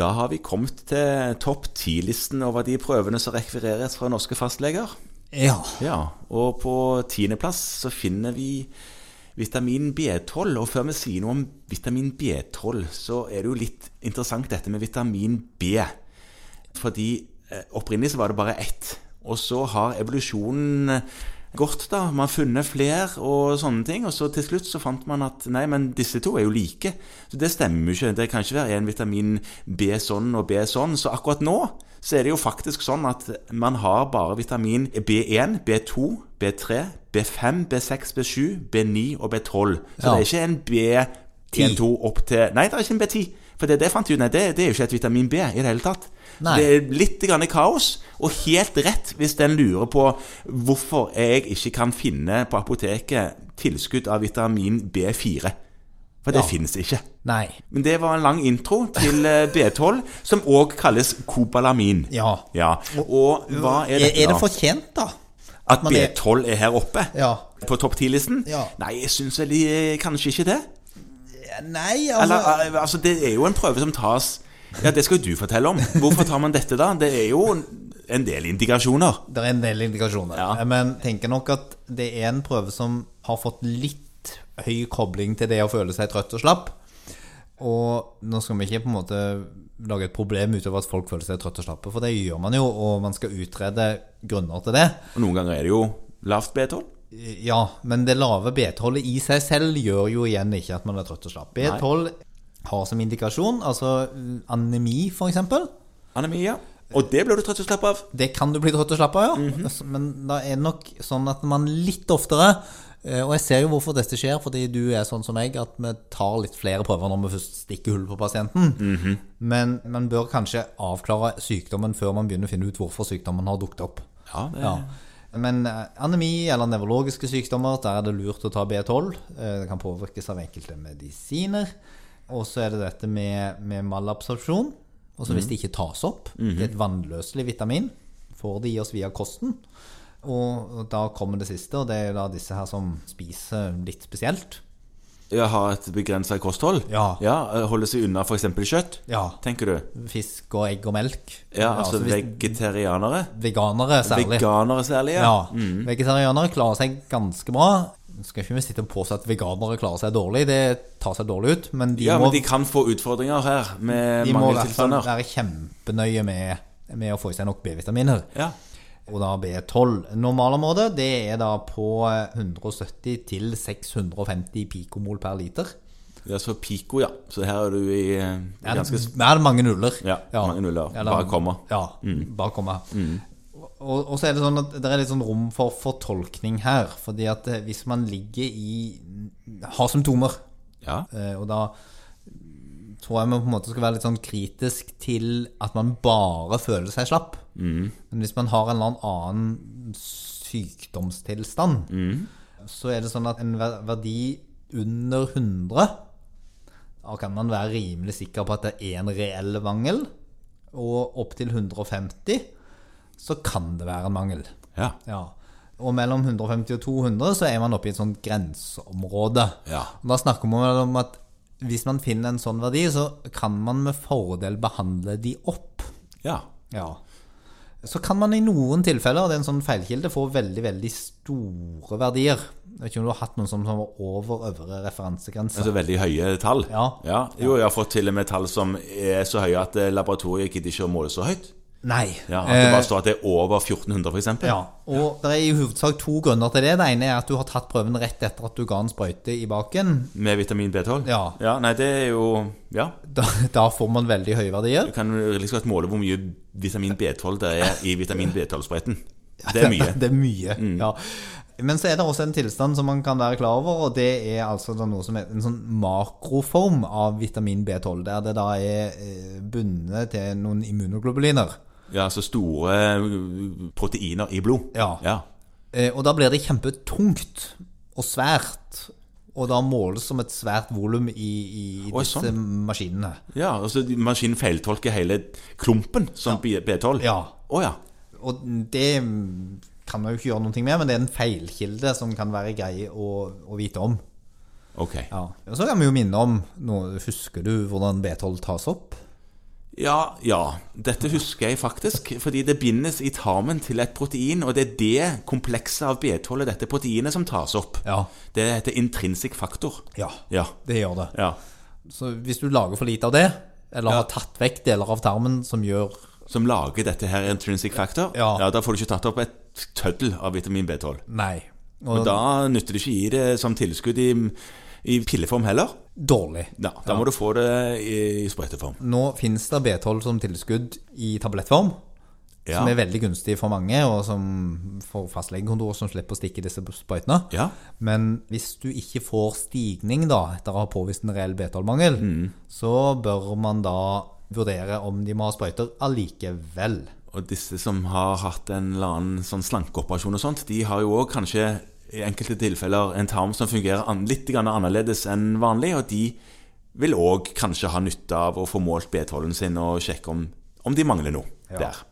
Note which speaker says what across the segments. Speaker 1: Da har vi kommet til topp ti-listen over de prøvene som rekvireres fra norske fastleger.
Speaker 2: Ja.
Speaker 1: Ja, og på tiendeplass så finner vi vitamin B12. Og før vi sier noe om vitamin B12, så er det jo litt interessant dette med vitamin B. Fordi eh, opprinnelig så var det bare ett. Og så har evolusjonen eh, gått, da. Man har funnet flere og sånne ting. Og så til slutt så fant man at nei, men disse to er jo like. Så det stemmer jo ikke. Det kan ikke være en vitamin B sånn og B sånn. Så akkurat nå så er det jo faktisk sånn at man har bare vitamin B1, B2, B3, B5, B6, B7, B9 og B12. Så
Speaker 2: Ja.
Speaker 1: det er ikke en B12 opp til Nei, det er ikke en B10. For det, det fant jeg ut, nei, det, det er jo ikke et vitamin B i det hele tatt. Så
Speaker 2: Nei.
Speaker 1: Det er litt grann kaos, og helt rett hvis den lurer på hvorfor jeg ikke kan finne på apoteket tilskudd av vitamin B4. For det
Speaker 2: Ja.
Speaker 1: finnes ikke.
Speaker 2: Nei.
Speaker 1: Men det var en lang intro til eh, B12, som òg kalles kobalamin.
Speaker 2: Ja.
Speaker 1: Ja, Og hva er
Speaker 2: Er,
Speaker 1: dette,
Speaker 2: er det
Speaker 1: da?
Speaker 2: fortjent, da?
Speaker 1: At
Speaker 2: man er-
Speaker 1: B12 er her oppe?
Speaker 2: Ja.
Speaker 1: På topp 10-listen?
Speaker 2: Ja.
Speaker 1: Nei, jeg syns vel eh, kanskje ikke det.
Speaker 2: Nei,
Speaker 1: Eller,
Speaker 2: altså
Speaker 1: al- altså, det er jo en prøve som tas Ja, det skal jo du fortelle om. Hvorfor tar man dette, da? Det er jo en del indikasjoner.
Speaker 2: Det er en del indikasjoner.
Speaker 1: Ja.
Speaker 2: Men tenker nok at det er en prøve som har fått litt høy kobling til det å føle seg trøtt og slapp. Og nå skal vi ikke på en måte lage et problem utover at folk føler seg trøtt og slappe, for det gjør man jo, og man skal utrede grunner til det.
Speaker 1: Og noen ganger er det jo lavt B12.
Speaker 2: Ja, men det lave B12-et i seg selv gjør jo igjen ikke at man er trøtt og slapp. B12 har som indikasjon, altså mm, anemi for eksempel,
Speaker 1: Anemia. Og det blir du trøtt og slapp av.
Speaker 2: Det kan du bli trøtt og slapp av, ja. Altså, Men da er det nok sånn at man litt oftere eh, Og jeg ser jo hvorfor dette skjer, fordi du er sånn som meg, at vi tar litt flere prøver når vi først stikker hull på pasienten. Men man bør kanskje avklare sykdommen før man begynner å finne ut hvorfor sykdommen har dukket opp.
Speaker 1: Ja, det
Speaker 2: Ja. Men eh, anemi eller nevrologiske sykdommer, der er det lurt å ta B12. Eh, Det kan påvirkes av enkelte medisiner. Og så er det dette med, med malabsorpsjon. Og
Speaker 1: Mhm.
Speaker 2: så hvis det ikke tas opp, det er et vannløselig vitamin, får det i oss via kosten. Og og da kommer det siste, og det er da disse her som spiser litt spesielt.
Speaker 1: Jeg har et begrensa kosthold.
Speaker 2: Ja.
Speaker 1: ja eh, Holde seg unna f.eks. kjøtt,
Speaker 2: Ja.
Speaker 1: tenker du.
Speaker 2: Fisk og egg og melk.
Speaker 1: Ja, altså
Speaker 2: så hvis-
Speaker 1: vegetarianere.
Speaker 2: veganere særlig.
Speaker 1: Veganere særlig, ja. Mm.
Speaker 2: Ja. Vegetarianere klarer seg ganske bra. Nå skal ikke vi sitte og påstå at veganere klarer seg dårlig, det tar seg dårlig ut, men de
Speaker 1: Ja,
Speaker 2: må,
Speaker 1: men de kan få utfordringer her med
Speaker 2: de må i hvert fall
Speaker 1: mangeltilstander.
Speaker 2: være kjempenøye med, med å få i seg nok B-vitaminer.
Speaker 1: Ja.
Speaker 2: Og da B12. Normalområdet det er da på 170 til 650 pikomol per liter.
Speaker 1: ja, så Pico, ja. Så her er du i eh,
Speaker 2: Det er,
Speaker 1: ganske s-
Speaker 2: det er mange nuller.
Speaker 1: Ja, mange nuller. Bare komma. Mm.
Speaker 2: Ja, bare komma. Og, og så er det sånn at det er litt sånn rom for fortolkning her. Fordi at eh, hvis man ligger i Har symptomer,
Speaker 1: Ja.
Speaker 2: eh, og da tror jeg man på en måte skal være litt sånn kritisk til at man bare føler seg slapp. Men hvis man har en eller annen sykdomstilstand, så er det sånn at en ver- verdi under 100 da kan man være rimelig sikker på at det er en reell mangel. Og opptil 150 så kan det være en mangel.
Speaker 1: ja.
Speaker 2: Ja. Og mellom 150 og 200 så er man oppe i et sånt grenseområde.
Speaker 1: Ja.
Speaker 2: Og Da snakker man vel om at hvis man finner en sånn verdi, så kan man med fordel behandle de opp.
Speaker 1: Ja.
Speaker 2: Ja. Så kan man i noen tilfeller, og det er en sånn feilkilde, få veldig, veldig store verdier. Jeg vet ikke om du har hatt noen som, som var over øvre referansegrense.
Speaker 1: Altså veldig høye tall.
Speaker 2: Ja.
Speaker 1: Jo, jeg har fått til og med tall som er så høye at eh, laboratoriet gidder ikke å måle så høyt.
Speaker 2: Nei.
Speaker 1: Ja, At det
Speaker 2: Eh,
Speaker 1: bare står at det er over 1400, f.eks.
Speaker 2: Ja, og det er i hovedsak to grunner til det. Det ene er at du har tatt prøven rett etter at du ga en sprøyte i baken.
Speaker 1: Med vitamin B12?
Speaker 2: Ja.
Speaker 1: Nei, det er jo Ja.
Speaker 2: Da, da får man veldig høye verdier.
Speaker 1: Du kan jo liksom godt måle hvor mye vitamin B12 det er i vitamin B12-sprøyten. Det er mye. Mm.
Speaker 2: det er mye, ja. Men så er det også en tilstand som man kan være klar over, og det er altså da noe som heter en sånn makroform av vitamin B12, der det da er eh, bundet til noen immunoglobuliner.
Speaker 1: Ja, så store uh, proteiner i blod.
Speaker 2: Ja.
Speaker 1: ja.
Speaker 2: Eh, Og da blir det kjempetungt og svært, og da måles som et svært volum i, i
Speaker 1: Oi, sånn.
Speaker 2: disse maskinene.
Speaker 1: Ja, altså Maskinen feiltolker hele klumpen som B12?
Speaker 2: Ja.
Speaker 1: Å ja.
Speaker 2: Og det kan man jo ikke gjøre noe med, men det er en feilkilde som kan være grei å, å vite om.
Speaker 1: Ok.
Speaker 2: Ja. Og så kan vi jo minne om nå Husker du hvordan B12 tas opp?
Speaker 1: Ja, ja. Dette husker jeg faktisk. Fordi det bindes i tarmen til et protein, og det er det komplekset av B12 og dette proteinet som tas opp.
Speaker 2: Ja.
Speaker 1: Det heter intrinsic faktor.
Speaker 2: Ja,
Speaker 1: Ja.
Speaker 2: det gjør det.
Speaker 1: ja.
Speaker 2: Så hvis du lager for lite av det, eller har tatt vekk deler av tarmen som gjør
Speaker 1: Som lager dette her intrinsic factor.
Speaker 2: Ja.
Speaker 1: ja. Da får du ikke tatt opp et tøddel av vitamin B12.
Speaker 2: Nei.
Speaker 1: Og da nytter det ikke å gi det som tilskudd i, i pilleform heller.
Speaker 2: dårlig.
Speaker 1: Ja, da må du få det i, i sprøyteform.
Speaker 2: Nå fins det B12 som tilskudd i tablettform,
Speaker 1: Ja.
Speaker 2: som er veldig gunstig for mange, og som for fastlegekontorer som slipper å stikke disse sprøytene.
Speaker 1: Ja.
Speaker 2: Men hvis du ikke får stigning da, etter å ha påvist en reell B12-mangel,
Speaker 1: Mm.
Speaker 2: så bør man da vurdere om de må ha sprøyter allikevel.
Speaker 1: Og disse som har hatt en eller annen sånn slankeoperasjon og sånt, de har jo òg kanskje i enkelte tilfeller en tarm som fungerer an litt grann annerledes enn vanlig, og de vil òg kanskje ha nytte av å få målt B12-en sin og sjekke om, om de mangler noe der.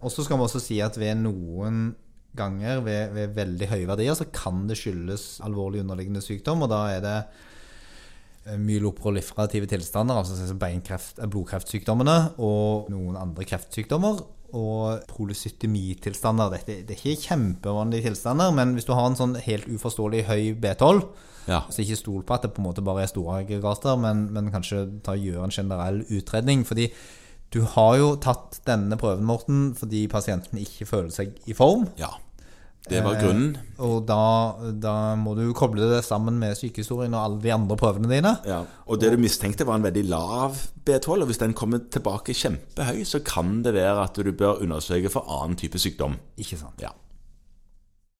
Speaker 2: Og så skal vi også si at ved noen ganger, ved, ved veldig høye verdier, så kan det skyldes alvorlig underliggende sykdom, og da er det eh, myeloproliferative tilstander, altså sånn som beinkreft, eh, blodkreftsykdommene, og noen andre kreftsykdommer, og polycytemitilstander. Dette, det er ikke kjempevanlige tilstander, men hvis du har en sånn helt uforståelig høy B12,
Speaker 1: Ja.
Speaker 2: så Altså, ikke stol på at det på en måte bare er store aggregater, men, men kanskje ta, gjør en generell utredning. Fordi du har jo tatt denne prøven, Morten, fordi pasienten ikke føler seg i form.
Speaker 1: ja. Det
Speaker 2: Eh.
Speaker 1: var grunnen.
Speaker 2: Og da, da må du koble det sammen med sykehistorien og alle de andre prøvene dine.
Speaker 1: Ja. Og det du mistenkte, var en veldig lav B12, og hvis den kommer tilbake kjempehøy, så kan det være at du bør undersøke for annen type sykdom.
Speaker 2: Ikke sant?
Speaker 1: Ja.